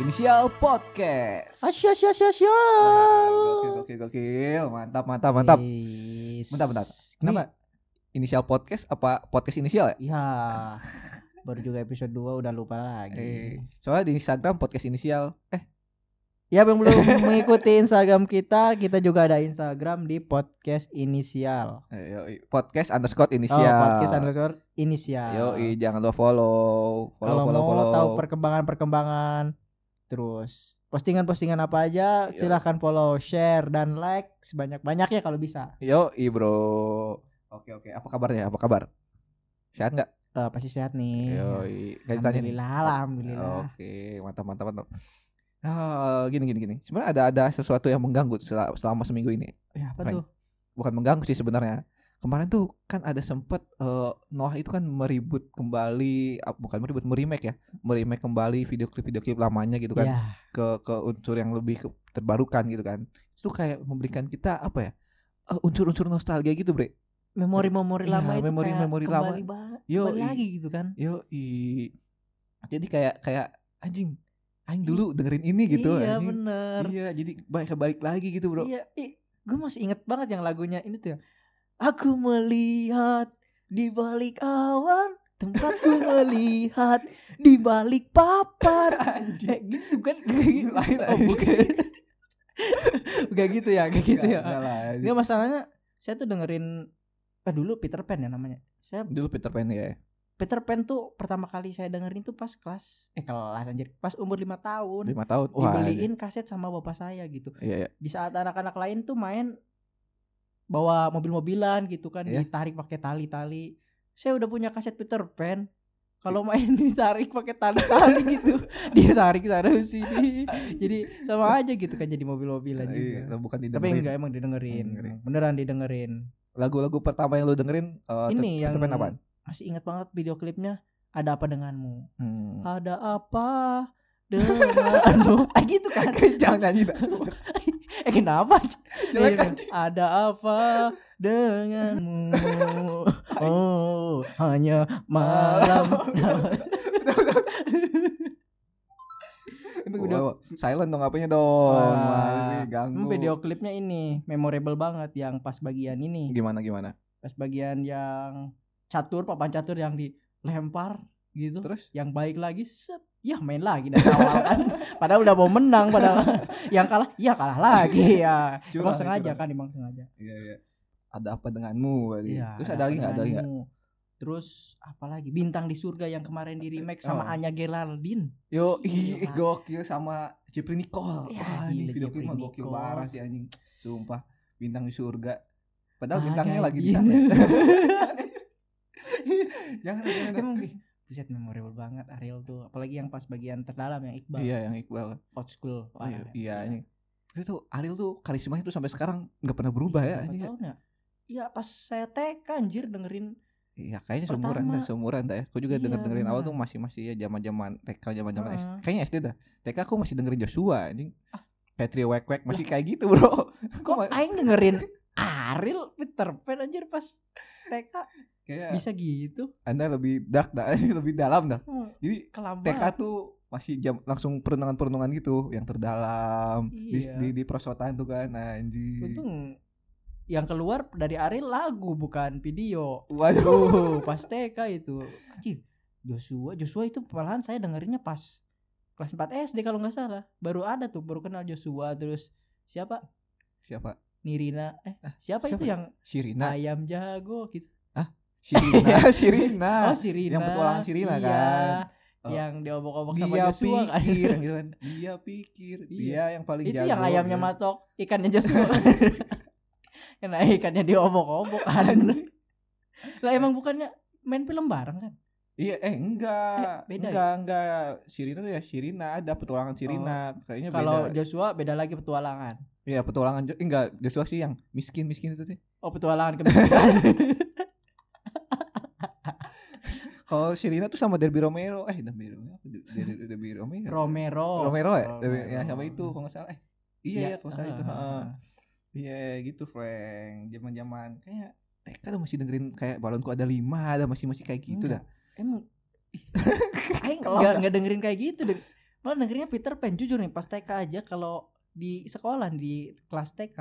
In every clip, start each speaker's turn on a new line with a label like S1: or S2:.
S1: Spesial Podcast.
S2: Asyik, asyik, asyik, asyik.
S1: Gokil, gokil, gokil. Mantap, mantap, mantap.
S2: Yes.
S1: Bentar, bentar.
S2: Kenapa?
S1: Inisial podcast apa podcast inisial ya?
S2: Iya. Baru juga episode 2 udah lupa lagi.
S1: Eh, soalnya di Instagram podcast inisial. Eh,
S2: Ya, yang belum mengikuti Instagram kita, kita juga ada Instagram di podcast inisial.
S1: eh, yoi, podcast underscore
S2: Oh,
S1: inisial.
S2: podcast underscore inisial.
S1: Yoi, jangan lupa follow, follow,
S2: Kalau
S1: follow,
S2: mau
S1: follow.
S2: tahu perkembangan-perkembangan, terus postingan-postingan apa aja,
S1: Iya.
S2: silahkan follow, share, dan like sebanyak-banyaknya kalau bisa.
S1: Yoi, bro. Oke, oke. Apa kabarnya? Apa kabar? Sehat nggak?
S2: Eh, pasti sehat nih.
S1: Yoi. Nggak ditanya nih? Oh.
S2: Alhamdulillah, alhamdulillah.
S1: Oke, mantap, mantap, mantap. Ah, gini, gini, gini. Sebenarnya ada ada sesuatu yang mengganggu sel- selama seminggu ini.
S2: Ya, apa
S1: Baik.
S2: tuh?
S1: bukan mengganggu sih sebenarnya. Kemarin tuh kan ada sempet eh, Noah itu kan meribut kembali ah, bukan meribut meremake ya, meremake kembali video klip-video klip lamanya gitu kan
S2: Ya.
S1: ke ke unsur yang lebih ke- terbarukan gitu kan. Itu kayak memberikan kita apa ya? eh, unsur-unsur nostalgia gitu, Bre.
S2: memori-memori
S1: Iya,
S2: lama itu
S1: memori-memori
S2: kayak
S1: lama.
S2: kembali, ba-
S1: Yo,
S2: kembali
S1: i-
S2: lagi gitu kan
S1: Yo, Jadi kayak kayak anjing, anjing dulu dengerin ini gitu
S2: iya
S1: anjing.
S2: bener
S1: Iya, jadi balik balik lagi gitu, Bro.
S2: iya gue masih inget banget yang lagunya ini tuh yang, aku melihat di balik awan tempatku melihat di balik papan
S1: Anjing.
S2: Eh, gitu kan
S1: Lain,
S2: oh,
S1: anjing.
S2: bukan Bukan gitu ya kayak gitu
S1: Nggak,
S2: ya
S1: nggak lah, anjing.
S2: nggak masalahnya saya tuh dengerin eh dulu Peter Pan ya namanya saya
S1: Dulu Peter Pan ya.
S2: Peter Pan tuh pertama kali saya dengerin tuh pas kelas eh kelas anjir pas umur lima
S1: 5
S2: tahun
S1: tahun. Wah. anjing.
S2: dibeliin kaset sama bapak saya gitu
S1: Iya, iya.
S2: di saat anak-anak lain tuh main bawa mobil-mobilan gitu kan
S1: Iya.
S2: ditarik pakai tali-tali saya udah punya kaset Peter Pan
S1: Iya.
S2: kalau main ditarik pakai tali-tali gitu ditarik sana sini jadi sama aja gitu kan jadi mobil-mobilan
S1: Iya,
S2: juga
S1: bukan
S2: tapi
S1: didengerin.
S2: enggak emang didengerin
S1: Dengerin.
S2: beneran didengerin
S1: lagu-lagu pertama yang lu dengerin eh, Tet-
S2: Ini yang-
S1: Peter Pan apaan?
S2: masih ingat banget video klipnya ada apa denganmu
S1: Hmm.
S2: ada apa denganmu ah gitu kan
S1: Jangan nyanyi dah. sumpah.
S2: eh kenapa
S1: Jelek
S2: Iya kan? ada apa denganmu oh
S1: Ah.
S2: hanya malam
S1: Ini
S2: udah.
S1: silent dong apanya dong.
S2: Wah.
S1: Mari, ganggu.
S2: Hmm, video klipnya ini memorable banget yang pas bagian ini
S1: Gimana gimana?
S2: pas bagian yang catur papan catur yang dilempar gitu
S1: Terus
S2: yang baik lagi set ya main lagi dari awal kan padahal udah mau menang padahal yang kalah ya kalah lagi ya
S1: Curang,
S2: emang sengaja
S1: curang.
S2: kan emang sengaja
S1: Iya, iya. Ada apa denganmu? berarti.
S2: Iya,
S1: Terus ada lagi enggak? Ada lagi nggak?
S2: denganmu. Terus apalagi Bintang di Surga yang kemarin di remake sama
S1: Oh.
S2: Anya Geraldine.
S1: Yo,
S2: Gila.
S1: ih gokil sama Jepri Nicole.
S2: Ya,
S1: Wah, ini
S2: gila,
S1: video
S2: Iya, Jepri
S1: klipnya gokil
S2: Nicole.
S1: parah sih anjing. Sumpah, bintang di surga. Padahal
S2: Ah,
S1: bintangnya
S2: kayak
S1: lagi di
S2: gini.
S1: sana. Jangan, jangan.
S2: Emang gitu, bi- buset memorable banget Ariel tuh. Apalagi yang pas bagian terdalam yang Iqbal
S1: Iya, yang Iqbal.
S2: old school.
S1: Oh, iya,
S2: Wah,
S1: iya
S2: gila.
S1: ini. Itu tuh Ariel tuh karismanya tuh sampai sekarang nggak pernah berubah
S2: Ih,
S1: ya.
S2: berapa
S1: anjing.
S2: tahun ya? Iya pas saya TK anjir dengerin
S1: Iya kayaknya seumuran dah,
S2: Pertama.
S1: seumuran dah ya. Aku juga
S2: Iya,
S1: denger dengerin awal tuh
S2: benar.
S1: masih masih ya zaman zaman TK, zaman zaman SD.
S2: Heeh. Ah.
S1: Kayaknya SD dah. TK aku masih dengerin Joshua anjing. Kayak trio wek wek masih kayak gitu bro. Kok
S2: kok aing dengerin Ariel Peter Pan anjir pas TK
S1: kayak
S2: bisa gitu.
S1: anda lebih dark dah, lebih dalam dah.
S2: Hmm,
S1: Jadi
S2: Kelam
S1: TK
S2: banget.
S1: tuh masih jam langsung perenungan perenungan gitu yang terdalam di,
S2: Iya.
S1: di, di perosotan tuh kan anjing.
S2: Untung yang keluar dari Ariel lagu bukan video.
S1: Waduh.
S2: Oh, pas TK itu. Anjir, Joshua, Joshua itu malahan saya dengerinnya pas kelas 4 SD kalau nggak salah. Baru ada tuh, baru kenal Joshua terus siapa?
S1: Siapa?
S2: Nirina. Eh,
S1: Ah, siapa ya?
S2: siapa,
S1: Nah.
S2: itu yang
S1: Sirina.
S2: ayam jago gitu.
S1: Sirina. Sirina.
S2: oh, Sirina.
S1: Ah, yang petualangan Sirina
S2: Iya,
S1: kan. Oh.
S2: Yang diobok-obok sama
S1: dia
S2: Joshua
S1: pikir
S2: kan.
S1: gitu kan dia pikir
S2: Iya.
S1: dia yang paling
S2: Itu
S1: jago
S2: yang ayamnya
S1: gitu.
S2: matok, ikannya Joshua. Kena ikannya diobok-obok kan. lah emang bukannya main film bareng kan?
S1: iya eh enggak
S2: Eh, beda ya?
S1: enggak enggak Sirina tuh ya Sirina ada petualangan Sirina kayaknya
S2: Oh. Kalau
S1: beda
S2: Joshua beda lagi petualangan.
S1: iya petualangan Jo- eh, enggak Joshua sih yang miskin miskin itu sih
S2: Oh petualangan kemiskinan.
S1: kalau Sirina tuh sama Derby Romero eh Derby Romero apa? Derby, Derby Romero
S2: Romero.
S1: Romero ya Derby,
S2: Romero.
S1: ya sama itu kalau nggak salah eh iya
S2: Iya,
S1: iya kalau salah itu
S2: ah.
S1: heeh. iya gitu Frank zaman zaman kayak TK tuh masih dengerin kayak balonku ada lima ada masih masih kayak gitu dah
S2: Enggak. Emang Aing
S1: Kelam
S2: nggak
S1: dah.
S2: nggak dengerin kayak gitu deh. malah dengerinnya Peter Pan jujur nih pas TK aja kalau di sekolah di kelas TK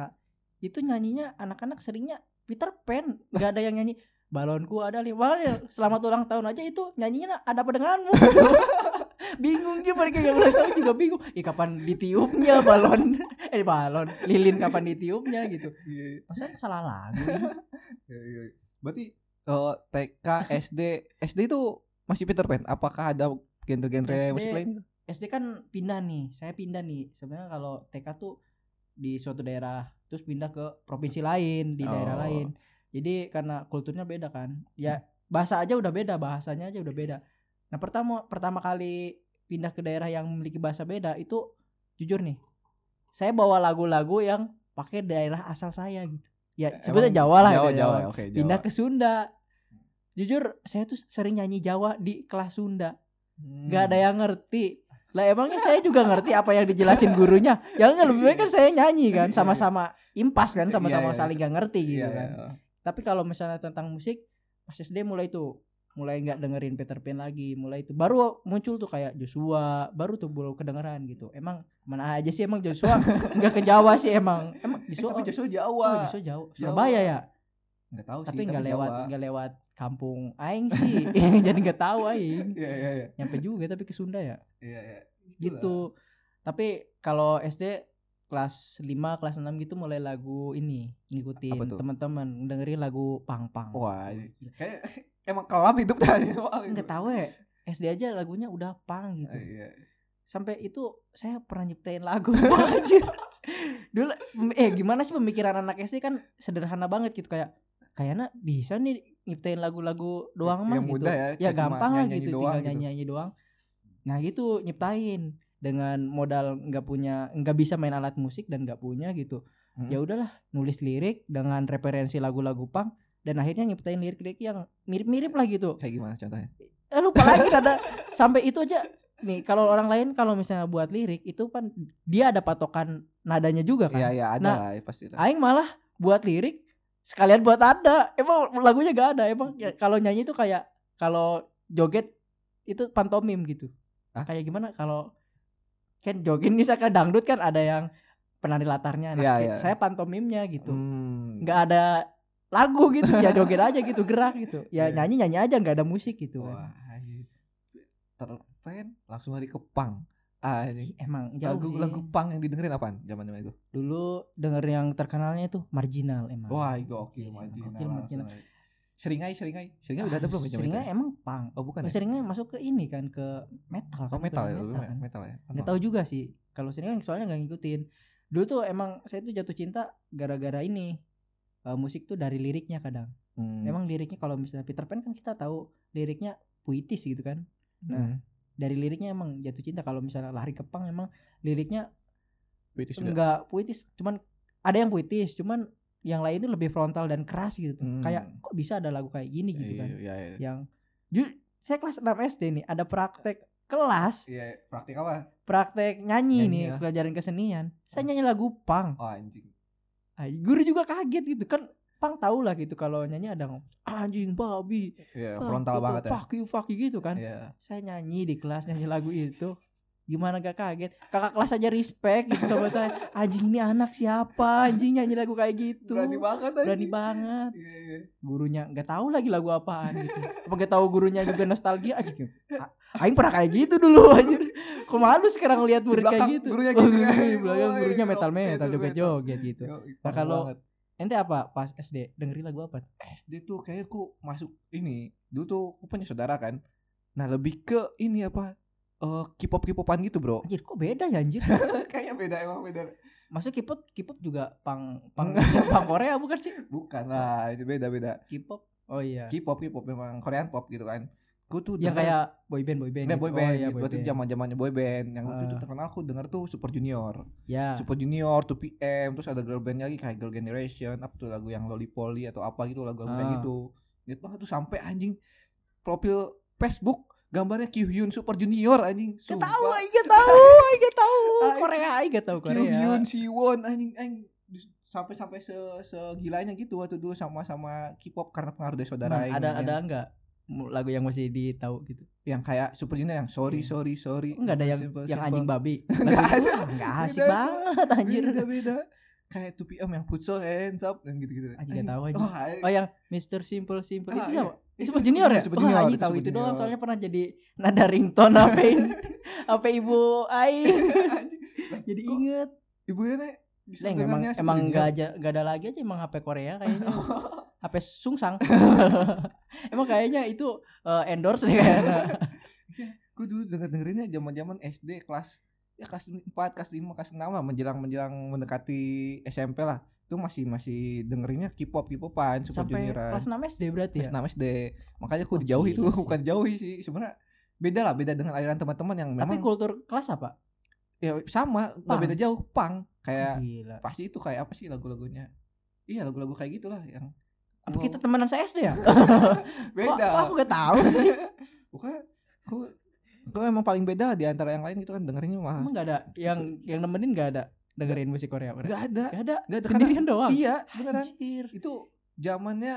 S2: itu nyanyinya anak-anak seringnya Peter Pan nggak ada yang nyanyi balonku ada lima Malah selamat ulang tahun aja itu nyanyinya ada apa denganmu bingung dia mereka yang ulang tahun juga bingung ya kapan ditiupnya balon eh balon lilin kapan ditiupnya gitu
S1: Iya, iya,
S2: Maksudnya salah lagu
S1: iya, iya. Berarti eh, TK, SD, SD itu masih Peter Pan. Apakah ada genre-genre
S2: SD.
S1: musik lain?
S2: SD kan pindah nih, saya pindah nih. Sebenarnya kalau TK tuh di suatu daerah, terus pindah ke provinsi lain, di daerah
S1: Oh. Hmm.
S2: lain. Jadi karena kulturnya beda kan. Ya bahasa aja udah beda, bahasanya aja udah beda. Nah, pertama pertama kali pindah ke daerah yang memiliki bahasa beda itu jujur nih. Saya bawa lagu-lagu yang pakai daerah asal saya gitu. Ya, sebetulnya
S1: Eh, Emang-
S2: Jawa lah
S1: Jawa,
S2: daerah
S1: Jawa, oke, Jawa.
S2: Pindah ke Sunda. Jujur, saya tuh sering nyanyi Jawa di kelas Sunda nggak
S1: Hmm.
S2: ada yang ngerti lah emangnya saya juga ngerti apa yang dijelasin gurunya ya nggak lebih baik kan saya nyanyi kan sama-sama impas kan
S1: Iya,
S2: sama-sama
S1: iya.
S2: saling nggak ngerti gitu
S1: Iya,
S2: kan
S1: iya.
S2: tapi kalau misalnya tentang musik pas SD mulai tuh mulai nggak dengerin Peter Pan lagi mulai itu baru muncul tuh kayak Joshua baru tuh baru kedengeran gitu emang mana aja sih emang Joshua nggak ke Jawa sih emang emang
S1: Eh,
S2: Joshua
S1: tapi
S2: oh,
S1: Joshua
S2: oh,
S1: Jawa.
S2: Joshua jauh Surabaya ya
S1: Enggak tahu sih,
S2: tapi nggak
S1: Jawa.
S2: lewat nggak lewat kampung Aing sih jadi nggak tahu Aing
S1: Iya, iya, iya.
S2: nyampe juga tapi ke Sunda ya
S1: Iya, iya. Itulah.
S2: gitu. Tapi kalau SD kelas 5, kelas 6 gitu mulai lagu ini
S1: Apa
S2: ngikutin
S1: tuh? Oh,
S2: teman-teman dengerin lagu Pang Pang.
S1: Wah, kayak emang kelam hidup tadi soal itu.
S2: Iya. Enggak tahu ya. SD aja lagunya udah pang gitu.
S1: Gitu. Iya.
S2: Sampai itu saya pernah nyiptain lagu anjir. Dulu eh gimana sih pemikiran anak SD kan sederhana banget gitu kayak kayaknya bisa nih nyiptain lagu-lagu doang mah
S1: Yang
S2: gitu.
S1: mudah ya,
S2: ya
S1: kayak cuma
S2: gampang lah
S1: nyanyi-nyanyi
S2: gitu
S1: doang
S2: tinggal
S1: gitu.
S2: nyanyi nyanyi doang nah gitu nyiptain dengan modal nggak punya nggak bisa main alat musik dan nggak punya gitu
S1: Hmm.
S2: ya udahlah nulis lirik dengan referensi lagu-lagu pang dan akhirnya nyiptain lirik-lirik yang mirip-mirip lah gitu
S1: Kayak gimana contohnya?
S2: eh lupa lagi ada sampai itu aja nih kalau orang lain kalau misalnya buat lirik itu kan dia ada patokan nadanya juga kan
S1: Iya, iya, ada
S2: Nah,
S1: lah ya, pasti lah.
S2: Aing malah buat lirik sekalian buat ada. Emang lagunya gak ada. Emang
S1: Iya.
S2: ya, kalau nyanyi itu kayak kalau joget itu pantomim gitu.
S1: Hah?
S2: Kayak gimana kalau kan joget misalkan dangdut kan ada yang penari latarnya. Nah,
S1: Iya,
S2: kayak
S1: iya.
S2: saya pantomimnya gitu.
S1: Hmm.
S2: nggak ada lagu gitu ya joget aja gitu gerak gitu. Ya
S1: Iya.
S2: nyanyi nyanyi aja nggak ada musik gitu.
S1: Wah,
S2: kan.
S1: anjing. Terpen langsung hari ke pang. Anjing.
S2: Ih, Emang jauh
S1: Lagu
S2: sih.
S1: lagu pang yang didengerin apaan zaman-zaman itu?
S2: Dulu denger yang terkenalnya itu marginal emang.
S1: Wah, gokil
S2: Ah, Iya,
S1: marginal.
S2: gokil, marginal.
S1: langsung aja. Seringai, seringai. Seringai udah ada
S2: Ah,
S1: belum ya zaman itu
S2: Seringnya
S1: ya?
S2: emang pang.
S1: Oh, bukan. ya?
S2: seringnya masuk ke ini kan ke metal kan
S1: Oh, metal ya,
S2: ke
S1: lebih
S2: metal kan.
S1: metal ya.
S2: nggak tahu juga sih kalau sering kan soalnya nggak ngikutin dulu tuh emang saya tuh jatuh cinta gara-gara ini Eh, musik tuh dari liriknya kadang
S1: Hmm.
S2: memang liriknya kalau misalnya Peter Pan kan kita tahu liriknya puitis gitu kan
S1: Hmm.
S2: nah, dari liriknya emang jatuh cinta kalau misalnya lari kepang emang liriknya
S1: British juga.
S2: enggak puitis cuman ada yang puitis cuman yang lain itu lebih frontal dan keras gitu tuh.
S1: Hmm.
S2: kayak kok bisa ada lagu kayak gini gitu kan
S1: Iya, iya.
S2: yang ju- saya kelas 6 SD nih ada praktek kelas
S1: Iya, praktik apa?
S2: praktek nyanyi,
S1: Nyanyi
S2: nih
S1: ya. Hmm.
S2: pelajaran kesenian saya nyanyi lagu pang
S1: Oh, anjing.
S2: Ah, guru juga kaget gitu kan pang tau lah gitu kalau nyanyi ada ngomong, anjing babi
S1: Iya,
S2: ah,
S1: frontal
S2: gitu,
S1: banget ya.
S2: fuck you fuck you gitu kan
S1: Iya.
S2: saya nyanyi di kelas nyanyi lagu itu gimana gak kaget kakak kelas aja respect gitu sama saya anjing ini anak siapa anjing nyanyi lagu kayak gitu
S1: Berani banget anjing.
S2: Berani banget
S1: Iya, iya.
S2: gurunya nggak tahu lagi lagu apaan gitu apa nggak tahu gurunya juga nostalgia aja gitu. A- Aing pernah kayak gitu dulu anjir kok malu sekarang lihat murid
S1: belakang
S2: kayak gitu
S1: gurunya
S2: Oh,
S1: gitu ya.
S2: di belakang
S1: Woi,
S2: gurunya
S1: oke,
S2: metal metal
S1: itu
S2: joget joget gitu
S1: Yo,
S2: Nah,
S1: parah
S2: kalau-
S1: banget.
S2: ente apa pas SD dengerin lagu apa
S1: SD tuh kayaknya aku masuk ini, dulu tuh aku punya saudara kan. Nah, lebih ke ini apa? Eh, K-pop K-popan gitu, Bro.
S2: anjir kok beda ya anjir
S1: kayaknya beda emang beda.
S2: maksudnya K-pop K-pop juga pang pang pang Korea bukan sih
S1: Bukan lah, itu beda-beda.
S2: K-pop oh iya
S1: K-pop K-pop memang Korean pop gitu kan. Gue tuh
S2: yang
S1: denger-
S2: kayak boyband boyband
S1: Nah,
S2: gitu.
S1: boy band,
S2: oh, iya,
S1: gitu. Waktu itu
S2: boyband.
S1: zaman-zamannya boy band. Yang waktu itu
S2: Ah.
S1: terkenal aku denger tuh Super Junior.
S2: ya
S1: Super Junior, 2PM, terus ada girl band lagi kayak Girl Generation, apa tuh lagu yang Lollipoli atau apa gitu lagu lagu kayak
S2: Ah.
S1: gitu. Ingat banget tuh sampai anjing profil Facebook gambarnya Kyuhyun Super Junior anjing.
S2: Gak
S1: Sumpah.
S2: tahu, iya tahu, iya tahu.
S1: Ai-
S2: Korea, iya tahu Korea.
S1: Kyuhyun, Siwon anjing anjing Dis- sampai sampai se segilanya gitu waktu dulu sama-sama K-pop karena pengaruh dari saudara
S2: Nah,
S1: yang
S2: ada
S1: nyanyian.
S2: ada enggak lagu yang masih ditahu gitu
S1: yang kayak Super Junior yang sorry
S2: Iya.
S1: sorry sorry
S2: nggak ada yang
S1: Simple,
S2: yang
S1: simple.
S2: anjing babi
S1: Nggak
S2: Lagu
S1: ada.
S2: itu, ah, nggak asik
S1: Beda itu.
S2: banget anjir
S1: beda beda kayak 2PM yang put your hands up dan gitu gitu
S2: Anjing, nggak Ah, tahu, anjing.
S1: oh, anjing.
S2: oh yang Mr. Simple Simple
S1: Ah,
S2: itu
S1: iya.
S2: siapa
S1: Itu
S2: Super Junior ya?
S1: Super
S2: Wah,
S1: Junior,
S2: anjing
S1: itu
S2: tahu
S1: Super
S2: itu doang
S1: Junior.
S2: soalnya pernah jadi nada ringtone apa ini- apa ibu aing
S1: Anjing.
S2: jadi
S1: Kok
S2: inget
S1: ibunya nih di
S2: Leng,
S1: sampingannya
S2: emang
S1: Super
S2: emang
S1: Junior.
S2: nggak aja nggak ada lagi aja emang HP Korea kayaknya HP Sungsang emang kayaknya itu eh, endorse deh kayaknya
S1: gue dulu denger dengerinnya zaman zaman SD kelas ya kelas 4, kelas 5, kelas 6 lah menjelang menjelang mendekati SMP lah itu masih masih dengerinnya K-pop K-popan Super
S2: sampai
S1: Junioran
S2: kelas 6 SD berarti ya
S1: kelas 6 SD makanya gue
S2: Wah,
S1: dijauhi
S2: gila
S1: tuh
S2: sih.
S1: bukan jauhi sih sebenarnya beda lah beda dengan aliran teman-teman yang
S2: tapi
S1: memang
S2: kultur kelas apa
S1: ya sama nggak
S2: Punk. Iya.
S1: beda jauh pang kayak
S2: gila
S1: pasti itu kayak apa sih lagu-lagunya iya lagu-lagu kayak gitulah yang
S2: apa
S1: Wow,
S2: kita temenan saya SD ya Kok-
S1: beda
S2: kok aku gak tahu sih
S1: bukan gue gue emang paling beda lah di antara yang lain itu kan dengerinnya mah
S2: emang gak ada yang yang nemenin gak ada dengerin musik Korea Korea
S1: nggak ada
S2: gak ada
S1: nggak ada karena-
S2: sendirian doang
S1: Iya, beneran.
S2: Anjir.
S1: Itu zamannya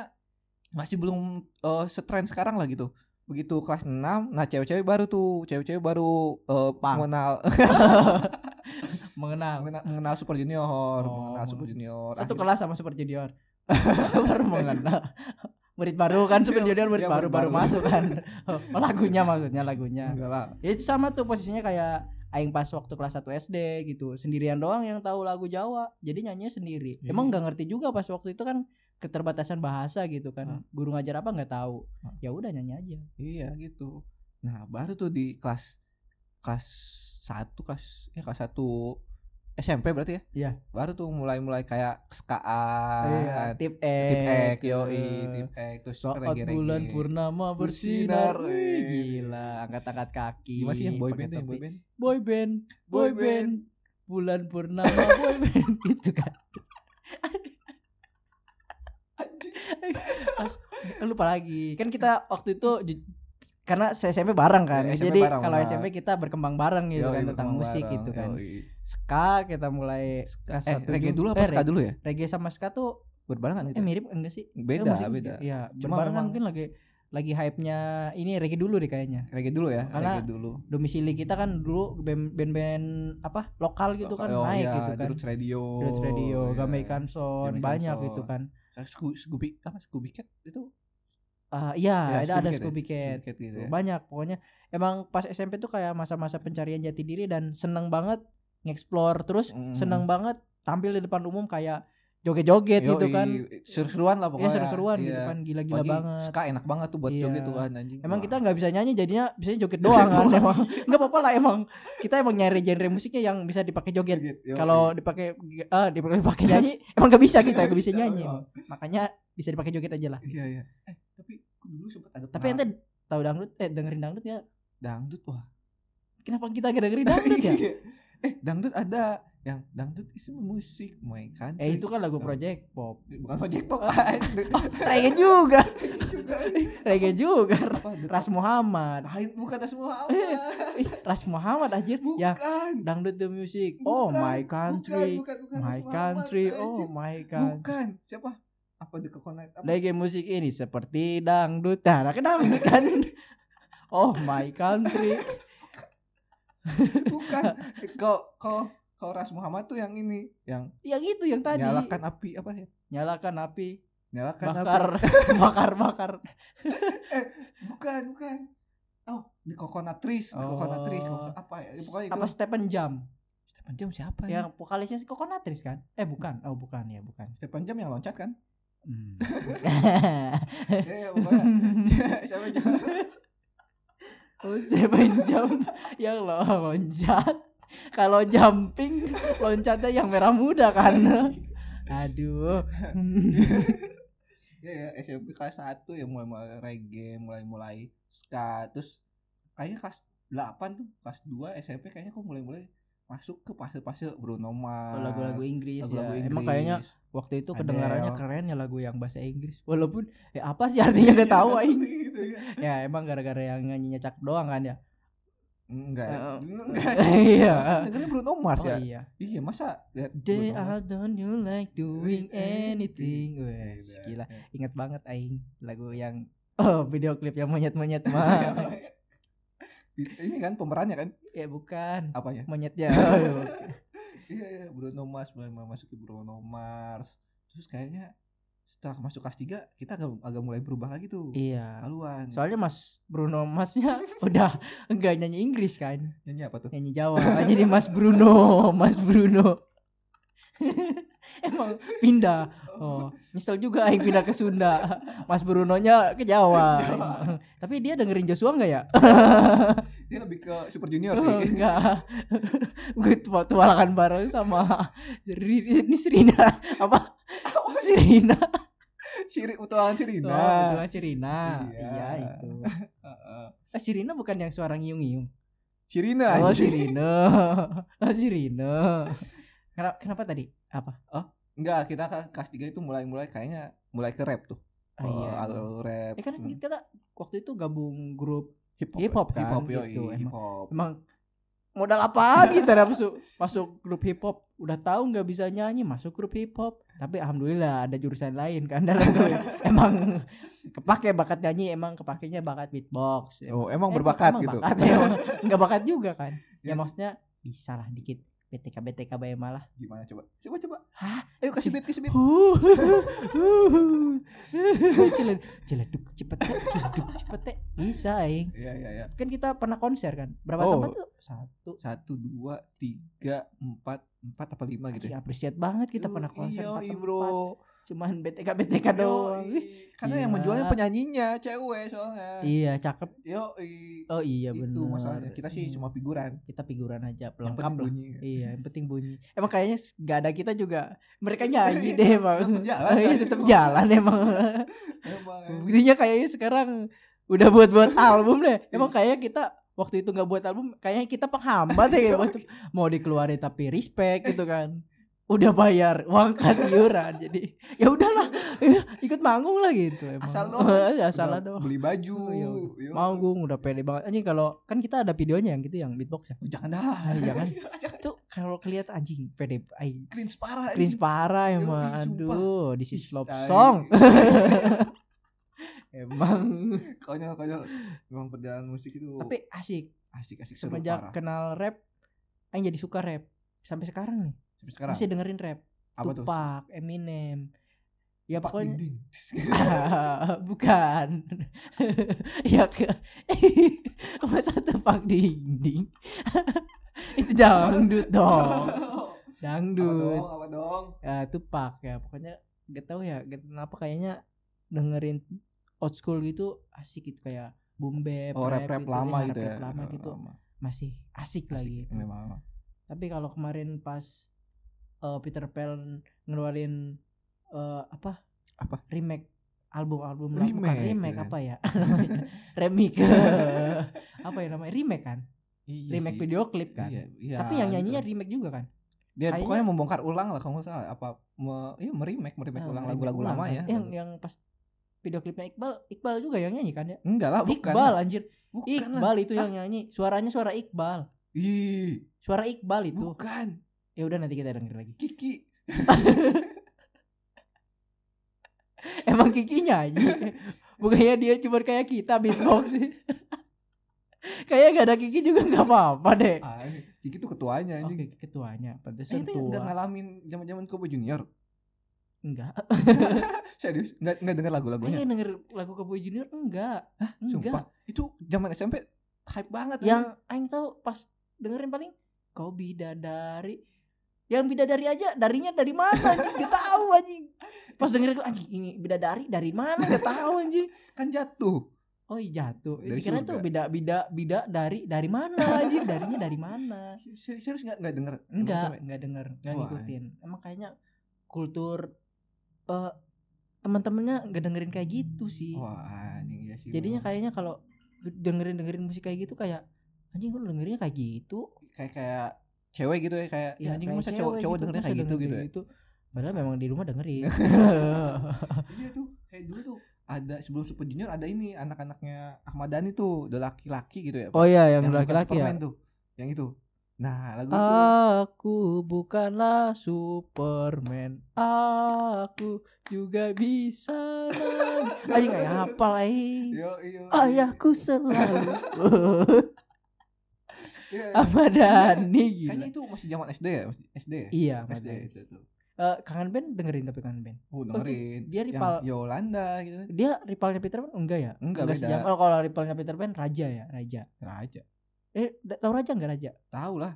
S1: masih belum eh, setren sekarang lah gitu. Begitu kelas 6, nah cewek-cewek baru tuh, cewek-cewek baru eh,
S2: Pang.
S1: mengenal
S2: mengenal
S1: mengenal mengenal Super Junior,
S2: Oh,
S1: mengenal
S2: meng-
S1: Super Junior.
S2: satu
S1: Akhirnya-
S2: kelas sama Super Junior baru mengenal murid baru kan Super
S1: Iya,
S2: Junior murid
S1: iya,
S2: baru
S1: murid baru.
S2: baru masuk kan oh, lagunya maksudnya lagunya
S1: Enggak lah.
S2: ya itu sama tuh posisinya kayak aing pas waktu kelas 1 SD gitu sendirian doang yang tahu lagu Jawa jadi nyanyinya sendiri
S1: Iya.
S2: emang nggak ngerti juga pas waktu itu kan keterbatasan bahasa gitu kan
S1: Hah.
S2: guru ngajar apa nggak tahu
S1: Hah.
S2: ya udah nyanyi aja
S1: Iya gitu. Nah, baru tuh di kelas kelas 1 kelas ya kelas 1 SMP berarti ya?
S2: Iya.
S1: Baru tuh mulai-mulai kayak skaan. Ah, Tip
S2: tip
S1: ek,
S2: X
S1: yoi,
S2: eh,
S1: tip ek, terus
S2: saat
S1: reggae-reggae.
S2: bulan purnama bersinar
S1: Bersinar,
S2: Wih,
S1: wih.
S2: gila angkat-angkat kaki
S1: Gimana sih yang boy
S2: pakai
S1: band yang
S2: topi.
S1: boy band?
S2: boy band, boy
S1: Boy
S2: band, bulan purnama boy band gitu kan. Ah, Lupa lagi. Kan kita waktu itu ju- karena se- SMP bareng kan.
S1: Ya, SMP
S2: Jadi
S1: bareng,
S2: kalau
S1: benar.
S2: SMP kita berkembang bareng gitu
S1: Yoi,
S2: kan tentang
S1: berkembang
S2: musik
S1: bareng,
S2: gitu kan.
S1: yoi.
S2: Ska kita mulai kelas
S1: Eh,
S2: satu
S1: reggae
S2: juga.
S1: dulu apa
S2: Eh,
S1: ska dulu ya?
S2: Reggae sama ska tuh
S1: Berbarengan
S2: eh,
S1: gitu.
S2: mirip enggak sih? Eh,
S1: Beda,
S2: masih-
S1: beda.
S2: Iya,
S1: Cuma memang-
S2: berbarengan mungkin lagi lagi hype-nya ini reggae dulu deh kayaknya.
S1: Reggae dulu ya,
S2: Karena
S1: reggae dulu.
S2: domisili kita kan dulu band- band-band apa lokal gitu kan
S1: Oh,
S2: naik
S1: iya,
S2: gitu kan
S1: Roots Radio.
S2: Roots Radio, kan.
S1: iya.
S2: Gamai Kanson,
S1: Gamai
S2: banyak
S1: Kanson.
S2: gitu kan.
S1: Kayak Sco- Scooby apa Scooby Cat itu?
S2: Ah iya,
S1: Ya,
S2: ada ada
S1: Cat ya,
S2: Scooby Cat.
S1: Cat gitu
S2: Tuh,
S1: ya.
S2: Banyak pokoknya. Emang pas SMP tuh kayak masa-masa pencarian jati diri dan seneng banget nge-explore terus
S1: Mm.
S2: seneng banget tampil di depan umum kayak joget-joget gitu
S1: Yoi,
S2: kan.
S1: Seru-seruan lah
S2: Ya
S1: pokoknya.
S2: seru-seruan gitu
S1: Iya.
S2: kan, gila-gila
S1: Pagi,
S2: banget.
S1: Ska enak banget tuh buat
S2: Iya.
S1: joget tuh kan anjing.
S2: Emang
S1: Wah.
S2: kita nggak bisa nyanyi jadinya bisa joget doang kan
S1: doang.
S2: emang. Enggak apa-apa lah emang. Kita emang nyari genre musiknya yang bisa dipakai joget.
S1: Joget, yoi.
S2: Kalau dipakai ah dipakai dipakai nyanyi emang nggak bisa kita,
S1: Nggak
S2: nggak bisa
S1: bisa,
S2: nyanyi.
S1: iya.
S2: emang. Makanya bisa dipakai joget aja lah.
S1: Iya iya. Eh, tapi aku dulu sempat ada
S2: Tapi
S1: pernah
S2: ente tahu dangdut eh dengerin dangdut ya?
S1: dangdut wah.
S2: Kenapa kita gak dengerin dangdut ya?
S1: Iya. eh, dangdut ada yang dangdut itu musik mainkan.
S2: eh itu kan lagu
S1: Nah.
S2: project pop. Oh,
S1: bukan ah, project pop.
S2: Reggae juga,
S1: juga.
S2: reggae juga.
S1: Apa? The
S2: Ras Muhammad.
S1: Lain bukan atas semua apa?
S2: Eh, Ih, Ras Muhammad anjir yang
S1: Bukan.
S2: dangdut the music. Oh
S1: Bukan,
S2: my country.
S1: Bukan, bukan, bukan
S2: My
S1: atas
S2: country,
S1: Muhammad,
S2: oh
S1: anjir.
S2: my country.
S1: Bukan. Siapa? Apa The Coconut? Apa?
S2: Reggae musik ini seperti dangdut. Nah, nah, kan dangdut kan. Oh my country.
S1: bukan. Eh, Kau kau kau Ras Muhammad tuh yang ini, yang
S2: Yang itu yang tadi.
S1: nyalakan api apa ya?
S2: Nyalakan api,
S1: Nyalakan api.
S2: bakar, bakar, bakar.
S1: Bukan, bukan. Oh, The Coconut Trees, The Coconut
S2: Oh.
S1: Trees, Coconut apa ya? Pokoknya itu.
S2: Apa Stephen Jam?
S1: Stephen Jam siapa?
S2: yang vokalisnya si Kokonatris kan? Eh bukan, oh bukan ya bukan.
S1: Stephen Jam yang loncat kan?
S2: Hmm. Eh.
S1: Iya, iya, pokoknya. Stephen Jam.
S2: oh Seven Jump yang lo loncat. Kalau jumping loncatnya yang merah muda kan. Aduh.
S1: Iya, ya, SMP kelas 1 ya mulai-mulai reggae, mulai-mulai ska, terus kayaknya kelas 8 tuh, kelas 2 SMP kayaknya kok mulai-mulai masuk ke fase-fase Bruno Mars.
S2: Lagu-lagu Inggris
S1: lagu-lagu
S2: ya. Emang kayaknya
S1: Inggris.
S2: waktu itu
S1: Adele.
S2: kedengarannya keren ya lagu yang bahasa Inggris. Walaupun ya apa sih artinya gak tahu aing.
S1: Gitu ya.
S2: Ya emang gara-gara yang nyanyinya cak doang kan ya.
S1: Enggak. ya.
S2: Eh,
S1: Enggak.
S2: Iya.
S1: Dengerin Bruno Mars
S2: Oh
S1: ya.
S2: iya.
S1: Iya, masa lihat
S2: Day
S1: Bruno Mars?
S2: out don't you like doing
S1: Doing
S2: anything
S1: anything.
S2: Wes
S1: Iya,
S2: gila
S1: iya.
S2: Ingat banget Aing Lagu yang Oh, video klip yang monyet-monyet mah.
S1: ini kan pemerannya kan
S2: ya bukan.
S1: apanya
S2: Monyetnya. Oh, iya.
S1: iya iya Bruno Mars mulai masuk ke Bruno Mars terus kayaknya setelah masuk kelas 3 kita agak, agak mulai berubah lagi tuh
S2: Iya.
S1: haluan
S2: Soalnya Mas Bruno Masnya udah enggak nyanyi Inggris kan,
S1: nyanyi apa tuh
S2: nyanyi Jawa. Kan Jadi Mas Bruno, Mas Bruno. Emang pindah. Oh, misal juga yang pindah ke Sunda. Mas Brunonya ke
S1: Jawa.
S2: Jawa. Emang. Tapi dia dengerin Joshua enggak ya?
S1: dia lebih ke Super Junior
S2: Oh,
S1: sih
S2: enggak. Gue tua- tualangan bareng sama Ri- ini Serina apa? Serina.
S1: Siri utulangan Sirina
S2: Oh, kebetulan Serina.
S1: Iya.
S2: Iya, itu.
S1: Heeh.
S2: Eh, Sirina bukan yang suara ngiung-ngiung.
S1: Sirina
S2: Oh,
S1: anjing.
S2: Sirina. Oh, Sirina. Kenapa, kenapa tadi? Apa?
S1: enggak kita ke- kelas 3 itu mulai mulai kayaknya mulai ke rap tuh
S2: Oh, iya.
S1: Eh, alur rap
S2: Eh, kan
S1: hmm.
S2: kita waktu itu gabung grup
S1: hip hop
S2: hip hop kan,
S1: hip hop yoi,
S2: gitu, emang.
S1: hip hop
S2: emang modal apa kita dapat masuk masuk grup hip hop udah tahu nggak bisa nyanyi masuk grup hip hop tapi alhamdulillah ada jurusan lain kan dalam grup emang kepake bakat nyanyi emang kepakainya bakat beatbox emang,
S1: oh emang
S2: Eh,
S1: berbakat
S2: emang
S1: gitu
S2: bakat, emang nggak bakat juga kan
S1: Ya,
S2: ya maksudnya bisa lah dikit BTK BTK bayar malah
S1: gimana coba coba coba
S2: Hah?
S1: ayo kasih beat kasih beat
S2: Huh, Celed, celeduk cepet teh, celeduk cepet teh. Bisa aing.
S1: iya iya iya
S2: Kan kita pernah konser kan. Berapa
S1: Oh.
S2: tempat tuh? Satu.
S1: satu dua tiga empat empat apa lima gitu ya
S2: Iya, appreciate banget kita pernah konser
S1: iya
S2: empat tempat.
S1: bro iya.
S2: Cuman BTK BTK doang.
S1: Yoi. karena yang
S2: Gila.
S1: menjualnya penyanyinya cewek soalnya
S2: Iya, cakep.
S1: yo
S2: Oh iya
S1: itu
S2: benar.
S1: masalahnya kita sih cuma figuran
S2: kita figuran aja
S1: yang
S2: pelengkap
S1: penting
S2: lah.
S1: bunyi
S2: Iya, yang penting bunyi. Emang kayaknya nggak ada kita juga. Mereka nyanyi deh,
S1: Tetep
S2: emang.
S1: Iya, jalan,
S2: Iya,
S1: kan?
S2: tetap jalan emang.
S1: emang eh.
S2: Buktinya kayaknya sekarang udah buat-buat album deh. Emang
S1: Iya.
S2: kayaknya kita waktu itu nggak buat album, kayaknya kita penghambat ya kayak buat- mau dikeluarin tapi respect gitu kan. Udah bayar uang kas iuran jadi ya udahlah ya, ikut manggung lah gitu emang.
S1: Asal doang.
S2: ya asal
S1: Udah
S2: doang.
S1: beli baju
S2: Iya,
S1: yo.
S2: Manggung udah pede banget. Anjing kalau kan kita ada videonya yang gitu yang beatbox ya.
S1: Oh, jangan dah
S2: Ah, jangan.
S1: jangan
S2: Itu kalau kelihat anjing pede ai
S1: cringe parah
S2: cringe
S1: ini.
S2: parah
S1: Yoi,
S2: emang.
S1: Iya, sumpah.
S2: Aduh, this is
S1: Ih,
S2: love
S1: tai.
S2: song. Emang
S1: konyol konyol memang perjalanan musik itu
S2: tapi asik
S1: asik asik seru
S2: semenjak
S1: parah
S2: kenal rap Aing jadi suka rap sampai sekarang nih
S1: sampai sekarang
S2: masih dengerin rap
S1: apa tuh
S2: Tupac Eminem ya
S1: Pak
S2: pokoknya
S1: Dinding.
S2: bukan ya ke masa Tupac dinding itu dangdut dong
S1: Oh. apa
S2: dangdut
S1: dong apa dong
S2: ya, Tupac ya pokoknya gak tau ya gak- kenapa kayaknya dengerin old school gitu asik gitu kayak boom bap
S1: oh rap rap
S2: gitu,
S1: lama
S2: ya,
S1: gitu ya
S2: rap-rap lama
S1: Eh,
S2: gitu
S1: lama.
S2: masih
S1: Asik,
S2: asik, lagi gitu.
S1: memang memang.
S2: Tapi kalau kemarin pas eh, Peter Pan ngeluarin eh, apa?
S1: Apa?
S2: Remake album-album lama- bukan
S1: Remake,
S2: remake
S1: ya.
S2: apa ya? remake. apa ya namanya? Remake kan?
S1: Iya
S2: remake
S1: sih.
S2: video klip kan?
S1: Iya, iya,
S2: Tapi yang
S1: gitu.
S2: nyanyinya remake juga kan?
S1: dia
S2: kayaknya-
S1: pokoknya membongkar ulang lah kalau nggak salah apa me, iya meremake meremake
S2: Eh,
S1: ulang
S2: remake
S1: lagu-lagu
S2: ulang
S1: lama
S2: kan?
S1: ya
S2: Yang yang pas video klipnya Iqbal, Iqbal juga yang nyanyi kan ya?
S1: enggak lah Ah, bukan
S2: Iqbal
S1: lah.
S2: anjir.
S1: bukan lah Ah.
S2: Iqbal itu yang nyanyi. Suaranya suara Iqbal.
S1: ih
S2: Suara Iqbal itu.
S1: bukan
S2: Ya udah nanti kita denger lagi.
S1: Kiki
S2: Emang Kiki nyanyi Bukannya dia cuma kayak kita beatbox Kayaknya gak ada Kiki juga gak apa-apa deh
S1: ah, Kiki tuh ketuanya
S2: Oke
S1: anjing
S2: ketuanya
S1: Eh,
S2: Pantesan
S1: itu udah
S2: tua
S1: ngalamin zaman-zaman Kobo Junior.
S2: Enggak
S1: Ah, Serius, enggak enggak dengar lagu-lagunya.
S2: Kayaknya Oh, iya, denger lagu Cowboy Junior enggak
S1: Sumpah,
S2: Enggak
S1: itu zaman SMP hype banget anjing.
S2: Yang Aing tahu pas dengerin paling Kau bidadari yang bidadari aja darinya dari mana anjing gak tahu anjing pas dengerin gua, anjing ini bidadari dari mana gak tahu anjing
S1: kan jatuh.
S2: oh iya jatuh
S1: Dari
S2: dikira itu
S1: surga.
S2: bida bida bida dari dari mana anjing darinya dari mana
S1: Serius serius enggak enggak denger. zaman
S2: Enggak,
S1: SMP?
S2: enggak denger, enggak
S1: Wah.
S2: ngikutin. Emang kayaknya kultur eh teman-temannya enggak dengerin kayak gitu sih.
S1: Wah, anjing ya sih.
S2: Jadinya
S1: memang.
S2: kayaknya kalau dengerin-dengerin musik kayak gitu kayak anjing kok lu dengerinnya kayak gitu.
S1: kayak kayak cewek gitu ya kayak ya, anjing
S2: Iya, kayak
S1: masa
S2: cewek
S1: cowok cowok dengernya
S2: masa
S1: kayak gitu
S2: dengerin
S1: gitu ya.
S2: Padahal memang di rumah dengerin. gitu.
S1: Iya tuh, kayak dulu tuh ada sebelum Super Junior ada ini anak-anaknya Ahmad Dhani tuh, udah laki-laki gitu ya.
S2: oh iya yang
S1: bukan
S2: laki-laki ya. Ah.
S1: Superman tuh. Yang itu. Nah, lagu itu.
S2: Aku bukanlah Superman. Aku juga bisa nangis. Aja nggak hafal eh. aing.
S1: Yo, yo.
S2: Oh, Ayahku selalu
S1: Iya, iya.
S2: apa Dani
S1: Kayaknya
S2: gila.
S1: itu masih zaman SD ya, masih SD ya.
S2: Iya, Ahmad
S1: SD
S2: Dhani.
S1: itu tuh.
S2: Eh, kangen band dengerin tapi kangen band.
S1: Oh, dengerin. Yang
S2: Dia rival
S1: Yolanda gitu.
S2: dia rivalnya Peter Pan enggak ya?
S1: Enggak, beda.
S2: sejam. Oh, kalau rivalnya Peter Pan Raja ya, Raja.
S1: Raja.
S2: Eh, da- tahu Raja enggak Raja?
S1: Tahu Nah, lah.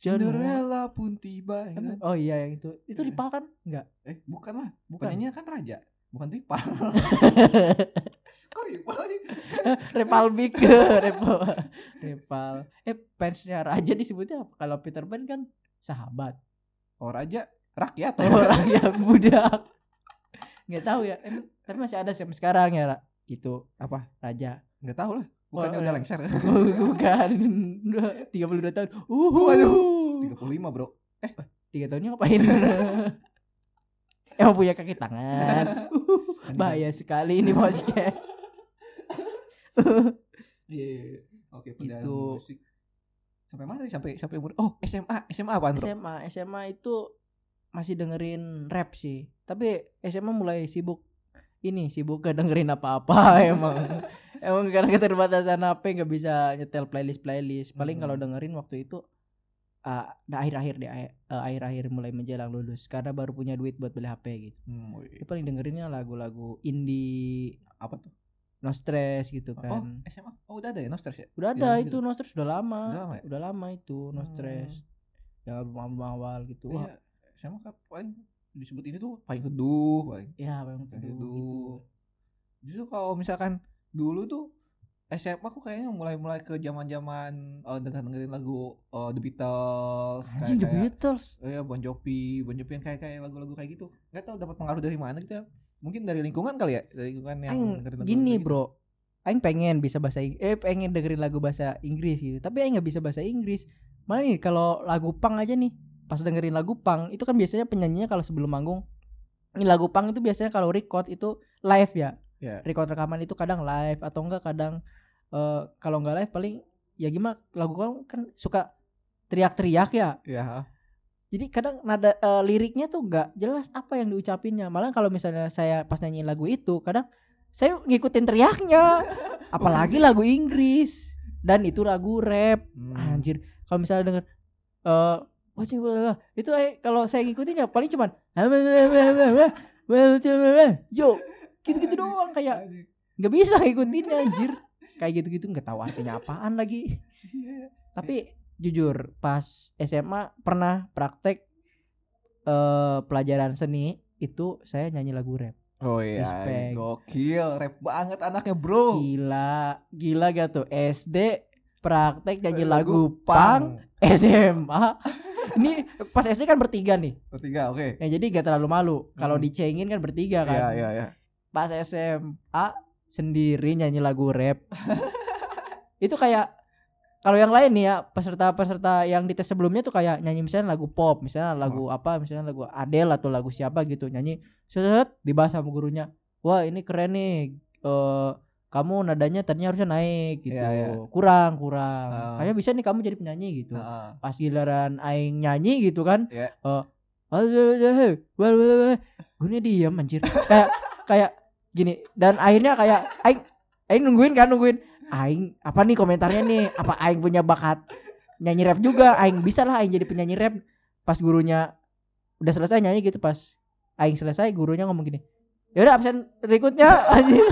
S2: Januari.
S1: Cinderella pun tiba. ya
S2: Emang-
S1: kan?
S2: Oh iya yang itu. Itu
S1: Iya.
S2: rival kan? Enggak.
S1: Eh, bukan lah.
S2: Bukan.
S1: Penyanyinya kan raja. Bukan rival. Kok rival lagi?
S2: rival Big, rival. rival. Eh, fansnya Raja disebutnya apa? Kalau Peter Pan kan sahabat.
S1: Oh, raja rakyat.
S2: Orang yang budak. Enggak tahu ya. Em, tapi masih ada sampai sekarang ya, Ra? Itu
S1: Apa?
S2: Raja.
S1: Enggak tahu lah. Bukannya
S2: Oh,
S1: udah
S2: iya.
S1: lengser.
S2: Bukan 32 tahun. Uh.
S1: Waduh. 35, Bro.
S2: tiga tahunnya ngapain emang punya kaki tangan
S1: Kan
S2: bahaya sekali ini podcast
S1: Iya, Iya. iya. Oke, perjalanan
S2: Gitu.
S1: musik. Sampai mana tadi? Sampai sampai umur. Oh, SMA. SMA apaan, Bro?
S2: SMA SMA itu masih dengerin rap sih tapi SMA mulai sibuk ini sibuk gak dengerin apa-apa emang emang karena keterbatasan HP nggak bisa nyetel playlist playlist paling
S1: Hmm.
S2: kalau dengerin waktu itu ah, nah akhir-akhir deh eh, akhir-akhir mulai menjelang lulus karena baru punya duit buat beli HP gitu
S1: Hmm, wih.
S2: Dia paling dengerinnya lagu-lagu indie
S1: apa tuh?
S2: no stress gitu kan
S1: Oh, SMA. Oh, udah ada ya, Nostres ya?
S2: Udah
S1: Iya,
S2: ada
S1: iya.
S2: itu no stress udah lama.
S1: Udah lama ya?
S2: Udah lama itu no
S1: Hmm.
S2: stress. Yang album-album awal gitu. Wah,
S1: Iya, SMA kan paling disebut ini tuh paling teduh, paling
S2: ya memang
S1: paling
S2: teduh
S1: teduh.
S2: gitu.
S1: Justru kalau misalkan dulu tuh SMA aku kayaknya mulai-mulai ke zaman-zaman eh dengan dengerin lagu eh, The Beatles
S2: Anjing The
S1: kayak
S2: Beatles.
S1: oh ya Bon Jovi, Bon Jovi yang kayak kayak lagu-lagu kayak gitu. Gak tau dapat pengaruh dari mana gitu ya. Mungkin dari lingkungan kali ya, dari lingkungan yang
S2: Aing
S1: dengerin lagu-lagu
S2: gini,
S1: kayak gitu.
S2: Bro. Aing pengen bisa bahasa Ing- eh pengen dengerin lagu bahasa Inggris gitu. Tapi aing nggak bisa bahasa Inggris. Mana nih kalau lagu pang aja nih. Pas dengerin lagu pang itu kan biasanya penyanyinya kalau sebelum manggung ini lagu pang itu biasanya kalau record itu live ya.
S1: Iya.
S2: Record rekaman itu kadang live atau enggak kadang eh, kalau enggak live paling ya gimana lagu punk kan suka teriak-teriak ya.
S1: Ya,
S2: Jadi kadang nada eh, liriknya tuh nggak jelas apa yang diucapinnya. Malah kalau misalnya saya pas nyanyiin lagu itu, kadang saya ngikutin teriaknya. Apalagi lagu Inggris dan itu lagu rap.
S1: hmm.
S2: Anjir, ya. kalau misalnya denger eh wah, cik, wah, wah. itu eh, kalau saya ngikutin ya paling cuman yo gitu-gitu doang kayak
S1: Aduh,
S2: nggak bisa ngikutinnya anjir. Kayak gitu-gitu nggak tahu artinya apaan lagi.
S1: iya.
S2: Tapi jujur pas SMA pernah praktek eh, pelajaran seni itu saya nyanyi lagu rap.
S1: Oh iya,
S2: Respect. Iya,
S1: gokil, rap banget anaknya bro.
S2: Gila, gila gak tuh SD praktek nyanyi
S1: Eh,
S2: lagu pang SMA. Ini pas SD kan bertiga nih.
S1: Bertiga, oke.
S2: Ya jadi gak terlalu malu. Kalau
S1: Hmm.
S2: dicengin kan bertiga kan.
S1: Iya, iya, iya.
S2: Pas SMA sendiri nyanyi lagu rap. itu kayak kalau yang lain nih ya peserta-peserta yang dites sebelumnya tuh kayak nyanyi misalnya lagu pop, misalnya
S1: Oh.
S2: lagu apa, misalnya lagu Adele atau lagu siapa gitu nyanyi set dibahas sama gurunya. Wah, ini keren nih. Eh kamu nadanya tadinya harusnya naik gitu.
S1: Iya,
S2: Kurang, kurang.
S1: Ah.
S2: Kayaknya bisa nih kamu jadi penyanyi gitu.
S1: Heeh.
S2: Pas giliran aing nyanyi gitu kan.
S1: Iya.
S2: Eh, "Aduh, wah, wah, wah." gurunya diam anjir. Kayak kayak gini dan akhirnya kayak aing aing nungguin kan nungguin aing apa nih komentarnya nih apa aing punya bakat nyanyi rap juga aing bisa lah aing jadi penyanyi rap pas gurunya udah selesai nyanyi gitu pas aing selesai gurunya ngomong gini ya udah absen berikutnya anjir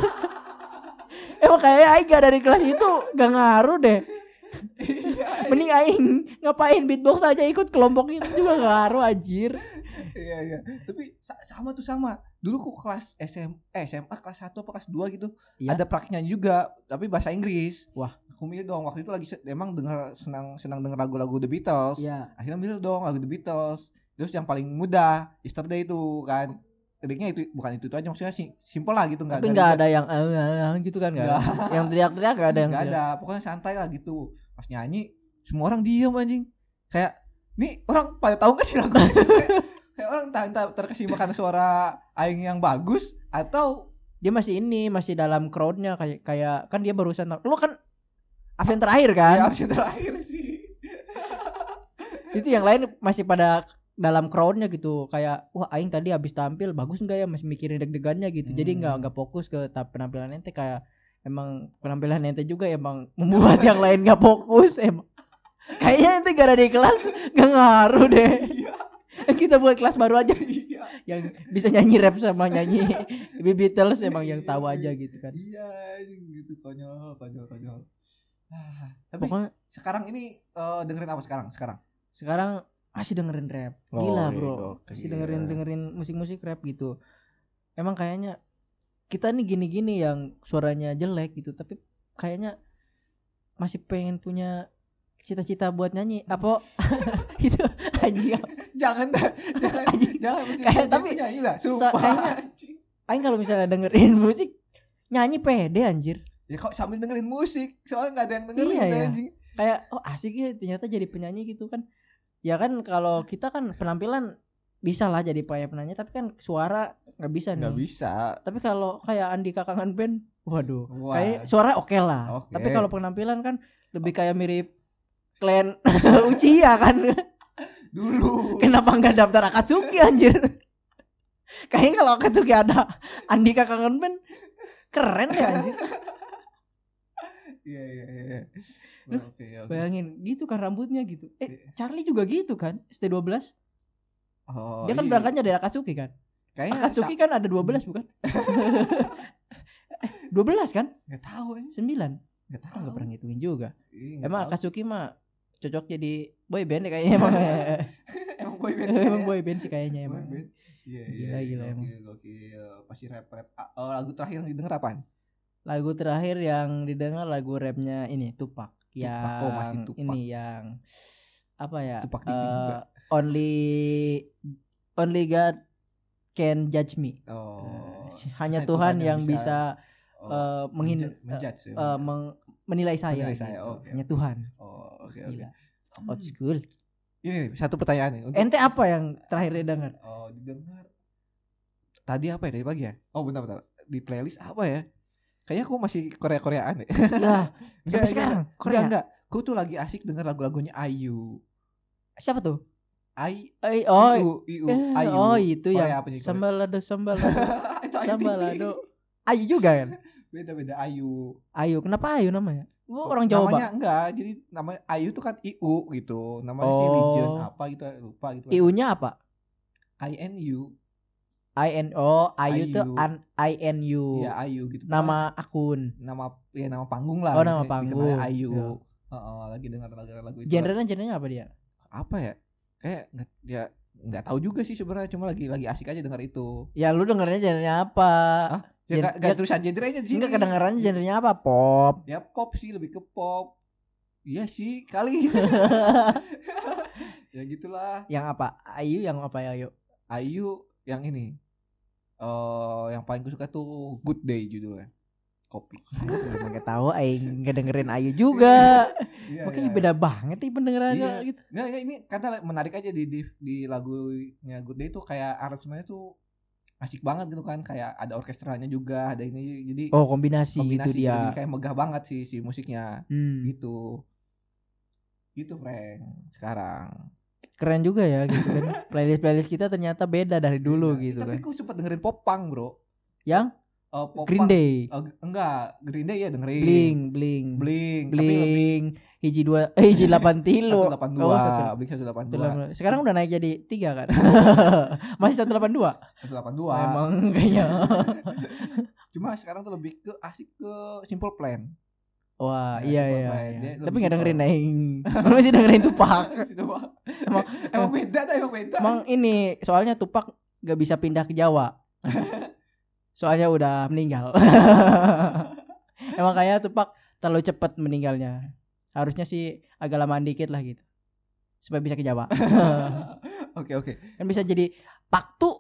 S2: emang kayaknya aing gak dari kelas itu gak ngaruh deh
S1: Iya,
S2: mending aing ngapain beatbox aja ikut kelompok itu juga gak ngaruh anjir
S1: Iya, iya. Tapi sa- sama tuh sama. Dulu kok kelas SM, eh, SMA kelas 1 apa kelas 2 gitu.
S2: Iya.
S1: Ada praknya juga, tapi bahasa Inggris.
S2: Wah.
S1: Aku milih dong waktu itu lagi se- emang denger senang senang denger lagu-lagu The Beatles.
S2: ya
S1: Akhirnya milih dong lagu The Beatles. Terus yang paling mudah, Yesterday itu kan. Liriknya itu bukan itu, itu aja maksudnya si- simple lah gitu nggak
S2: tapi nggak ada yang "Ah, ah, ah," gitu kan nggak ada.
S1: Nggak.
S2: yang teriak-teriak nggak ada yang
S1: nggak
S2: teriak.
S1: ada pokoknya santai lah gitu pas nyanyi semua orang diem anjing kayak nih orang pada tahu nggak sih lagu ini?" kayak, kayak orang entah, entah terkesima karena suara aing yang bagus atau
S2: dia masih ini masih dalam crowdnya
S1: Iya,
S2: kayak kayak kan dia barusan lo kan absen terakhir kan
S1: ya absen terakhir sih
S2: itu yang lain masih pada dalam crownnya gitu kayak wah aing tadi habis tampil bagus nggak ya masih mikirin deg-degannya gitu jadi nggak
S1: Hmm.
S2: nggak fokus ke ta- penampilan ente kayak emang penampilan ente juga emang membuat yang lain nggak fokus emang kayaknya ente gara di kelas nggak ngaruh deh
S1: Iya.
S2: kita buat kelas baru aja
S1: Iya.
S2: yang bisa nyanyi rap sama nyanyi The Beatles emang yang tahu aja gitu kan
S1: Iya, gitu konyol, konyol, konyol. Ah, tapi
S2: pokoknya
S1: sekarang ini eh, dengerin apa sekarang? Sekarang.
S2: sekarang masih dengerin rap
S1: Oh,
S2: gila
S1: iya,
S2: bro
S1: gokil.
S2: masih dengerin dengerin musik-musik rap gitu emang kayaknya kita nih gini-gini yang suaranya jelek gitu tapi kayaknya masih pengen punya cita-cita buat nyanyi apa gitu anjing
S1: Jangan dah, jangan,
S2: Anjing.
S1: jangan mesti
S2: Kayak
S1: nyanyi,
S2: tapi-
S1: nyanyi lah, sumpah.
S2: kayaknya-
S1: anjing.
S2: aing kalau misalnya dengerin musik nyanyi pede anjir
S1: Ya kok sambil dengerin musik, soalnya nggak ada yang dengerin
S2: Iya, ya.
S1: anjing.
S2: kayak oh asik ya ternyata jadi penyanyi gitu kan ya kan kalau kita kan penampilan bisa lah jadi kayak penyanyi tapi kan suara nggak bisa Iya, nih
S1: Nggak bisa.
S2: tapi kalau kayak Andi Kakangan Band waduh
S1: Wah.
S2: kayak suara oke lah
S1: Oke. Oh.
S2: tapi kalau penampilan kan lebih kayak mirip Clan Uchiha kan
S1: Dulu.
S2: kenapa nggak daftar Akatsuki anjir kayaknya kalau Akatsuki ada Andi Kakangan Band keren ya anjir
S1: Iya, iya, iya. iya.
S2: Lu
S1: Oke, oke.
S2: bayangin gitu kan rambutnya gitu
S1: Iya.
S2: eh Charlie juga gitu kan ST12
S1: Oh,
S2: dia kan
S1: iya.
S2: berangkatnya dari Akatsuki kan
S1: Kayaknya
S2: Akatsuki
S1: sa-
S2: kan ada 12 bukan? Eh, 12 kan?
S1: nggak tahu ini.
S2: 9. Enggak
S1: Nggak tahu.
S2: pernah ngitungin juga.
S1: Iya, nggak
S2: Emang
S1: tahu.
S2: Akatsuki mah cocok jadi boy band deh kayaknya emang. ya.
S1: emang boy band.
S2: emang
S1: kayaknya.
S2: boy band sih kayaknya
S1: Boy
S2: emang.
S1: band. Iya, iya.
S2: Gila, gila,
S1: Oke, oke. Pasti rap rap. Ah, oh, lagu terakhir yang didengar apaan?
S2: Lagu terakhir yang didengar lagu rapnya ini Tupac yang
S1: oh, masih Tupac.
S2: ini yang apa ya?
S1: Tupac
S2: eh,
S1: Diki juga.
S2: only only God can judge me.
S1: Oh.
S2: Eh, Hanya Tuhan yang bisa,
S1: oh,
S2: eh, menghin-
S1: menja- menjudge ya,
S2: eh,
S1: menjudge.
S2: meng- menilai saya.
S1: Menilai saya,
S2: gitu.
S1: oke,
S2: Hanya
S1: oke.
S2: Tuhan.
S1: Oh, oke oke.
S2: Gila.
S1: Hmm,
S2: Old school.
S1: Ini nih, satu pertanyaan nih. untuk-
S2: Ente apa yang terakhir didengar? Iya,
S1: Oh, didengar. Tadi apa ya dari pagi ya? Oh, bentar bentar. Di playlist apa ya? Kayaknya aku masih Korea-Koreaan deh.
S2: Nah,
S1: Enggak,
S2: sampai sekarang
S1: Enggak,
S2: Korea.
S1: enggak. Aku tuh lagi asik denger lagu-lagunya Ayu.
S2: Siapa tuh?
S1: Ai
S2: Eh, oh,
S1: IU, IU,
S2: eh,
S1: Ayu.
S2: oh itu
S1: Korea
S2: yang
S1: apa nih, Korea?
S2: sambalado sambalado
S1: Itu Ayu Ting Ting.
S2: sambalado. Ayu juga kan?
S1: Beda-beda Ayu.
S2: Ayu, kenapa Ayu namanya? Lu orang Jawa
S1: namanya
S2: banget.
S1: enggak jadi namanya Ayu tuh kan IU gitu namanya si
S2: Oh.
S1: Legion apa gitu lupa gitu kan.
S2: IU-nya apa?
S1: I N U
S2: I N O Ayu tuh
S1: Ayu.
S2: an I N U.
S1: ya Ayu gitu
S2: Oh. Nama akun.
S1: Pokoknya nama ya nama panggung lah
S2: Oh,
S1: gitu ya,
S2: nama
S1: dikenalnya
S2: panggung.
S1: Ayu
S2: Iya.
S1: Heeh, lagi dengar lagu lagu itu
S2: Genrenya genrenya apa dia?
S1: apa ya kayak nggak ya nggak tahu juga sih sebenarnya cuma lagi lagi asik aja dengar itu
S2: Ya lu dengernya genrenya apa?
S1: Ah, ya
S2: Gen-
S1: nggak nggak
S2: ya-
S1: tulisan genre aja sih
S2: Enggak kedengarannya genrenya apa? Pop.
S1: ya pop sih lebih ke pop iya sih kali ya gitulah
S2: yang apa? Ayu yang apa ya, Ayu?
S1: Ayu yang ini. Eh yang paling gue suka tuh Good Day judulnya. Kopi.
S2: Enggak tahu aing enggak dengerin Ayu juga.
S1: Iya,
S2: Makanya
S1: iya.
S2: beda banget nih pendengarannya
S1: Iya.
S2: gitu.
S1: Nggak, nggak, ini karena menarik aja di di, di lagunya Good Day tuh kayak aransemennya tuh asik banget gitu kan kayak ada orkestranya juga ada ini jadi
S2: Oh, kombinasi, gitu
S1: gitu, jadi
S2: dia.
S1: kayak megah banget sih si musiknya
S2: Hmm,
S1: gitu gitu Frank sekarang
S2: keren juga ya gitu kan. Playlist-playlist kita ternyata beda dari dulu
S1: Iya.
S2: gitu
S1: tapi
S2: kan.
S1: gue sempet dengerin popang bro
S2: Yang
S1: Eh, popang,
S2: Green Day,
S1: eh, enggak Green Day ya dengerin
S2: Blink, Blink, Blink,
S1: Blink, tapi lebih
S2: Blink, hiji dua, eh, hiji
S1: satu
S2: delapan tilu.
S1: delapan
S2: Oh,
S1: dua,
S2: satu-
S1: Blink satu delapan
S2: Satu
S1: dua,
S2: delapan- Sekarang udah naik jadi tiga kan. Masih satu delapan dua.
S1: satu delapan dua.
S2: Oh, Emang kayaknya.
S1: Nah, Cuma sekarang tuh lebih ke asik ke Simple Plan. Nah,
S2: Wah, iya
S1: Simple
S2: iya.
S1: Plan,
S2: iya.
S1: dia
S2: Tapi
S1: lebih
S2: nggak dengerin
S1: simple.
S2: Aing. Lu Masih dengerin Tupak.
S1: Situ doang.
S2: Ah, Emang-
S1: emang beda tuh emang beda.
S2: Emang ini soalnya Tupac gak bisa pindah ke Jawa. Soalnya udah meninggal. Emang kayaknya Tupac terlalu cepat meninggalnya. Harusnya sih agak lamaan dikit lah gitu. Supaya bisa ke Jawa.
S1: Oke oke.
S2: kan bisa jadi Paktu.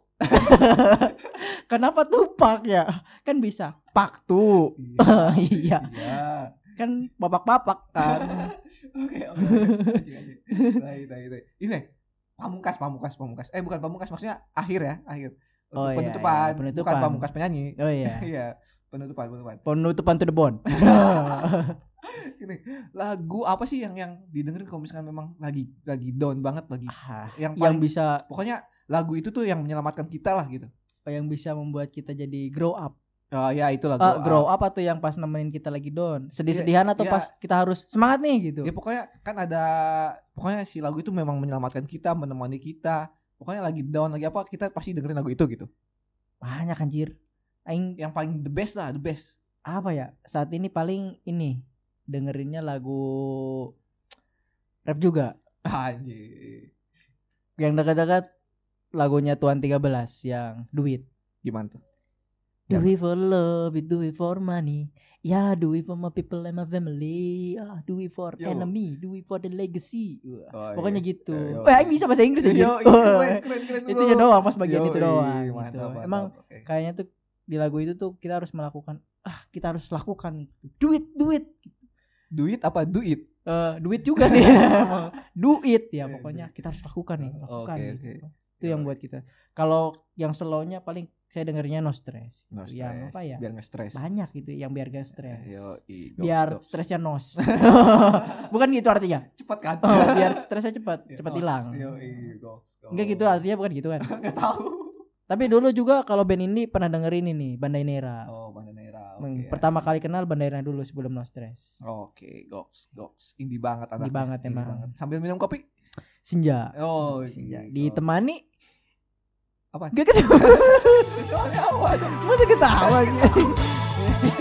S2: Kenapa Tupac ya? Kan bisa Paktu. iya,
S1: Iya.
S2: kan bapak-bapak kan.
S1: Oke oke. oke. Asik, asik. Baik, baik, baik. Ini pamungkas pamungkas pamungkas. Eh bukan pamungkas maksudnya akhir ya akhir.
S2: Oh, iya, iya,
S1: penutupan.
S2: penutupan.
S1: Bukan pamungkas penyanyi.
S2: Oh iya.
S1: Iya penutupan penutupan.
S2: Penutupan to the bone.
S1: Ini lagu apa sih yang yang didengerin kalau misalkan memang lagi lagi down banget lagi.
S2: Ah,
S1: Yang
S2: yang
S1: paling-
S2: bisa
S1: Pokoknya lagu itu tuh yang menyelamatkan kita lah gitu.
S2: yang bisa membuat kita jadi grow up.
S1: Oh ya itu lagu.
S2: Eh, grow up atau yang pas nemenin kita lagi down, sedih-sedihan atau
S1: iya.
S2: pas kita harus semangat nih gitu.
S1: Ya pokoknya kan ada pokoknya si lagu itu memang menyelamatkan kita, menemani kita. Pokoknya lagi down lagi apa kita pasti dengerin lagu itu gitu.
S2: Banyak anjir. Aing
S1: Yang paling the best lah, the best.
S2: apa ya? Saat ini paling ini dengerinnya lagu rap juga.
S1: Anjir.
S2: Yang dekat-dekat lagunya Tuan 13 yang duit.
S1: Gimana tuh? Ya.
S2: Do it for love, we do it for money. Yeah, do it for my people and my family. Ah, do it for
S1: Yo.
S2: enemy, do it for the legacy. Wah,
S1: Oh,
S2: Pokoknya gitu.
S1: Eh, yo.
S2: Wah, Aing bisa bahasa Inggris anjir.
S1: Yo, iya, keren, keren, keren,
S2: itu
S1: bro.
S2: aja doang pas bagian itu
S1: Yoi,
S2: doang gitu.
S1: Mantap, mantap.
S2: emang
S1: Oke.
S2: kayaknya tuh di lagu itu tuh kita harus melakukan ah kita harus lakukan gitu. duit duit
S1: duit apa duit?
S2: Eh duit juga sih Emang. duit ya pokoknya kita harus lakukan nih lakukan
S1: Iya, Oh, Oke,
S2: gitu.
S1: oke. Iya.
S2: itu yang buat kita kalau yang slownya paling saya dengernya no stress,
S1: No
S2: Gitu. yang
S1: stress,
S2: apa ya
S1: Biar nggak stres.
S2: banyak gitu yang biar gak stres
S1: Yo, i, gak
S2: biar
S1: usah.
S2: stresnya nos bukan gitu artinya
S1: cepat kan?
S2: Oh, biar stresnya cepat
S1: Yo,
S2: cepat
S1: os,
S2: hilang
S1: Yo, i, goks, goks.
S2: enggak gitu artinya bukan gitu kan
S1: Nggak tahu.
S2: Tapi dulu juga kalau band ini pernah dengerin ini Bandai Nera.
S1: Oh, Banda Nera. Oke.
S2: Meng- Pertama kali kenal Bandai Nera dulu sebelum No Stress.
S1: Oke, goks, goks. Indie banget anak.
S2: Indie banget emang. Iya,
S1: Sambil minum kopi.
S2: Senja.
S1: Oh,
S2: Senja.
S1: i, goks.
S2: Ditemani
S1: Apa?
S2: Gak ketawa. Masa ketawa gitu.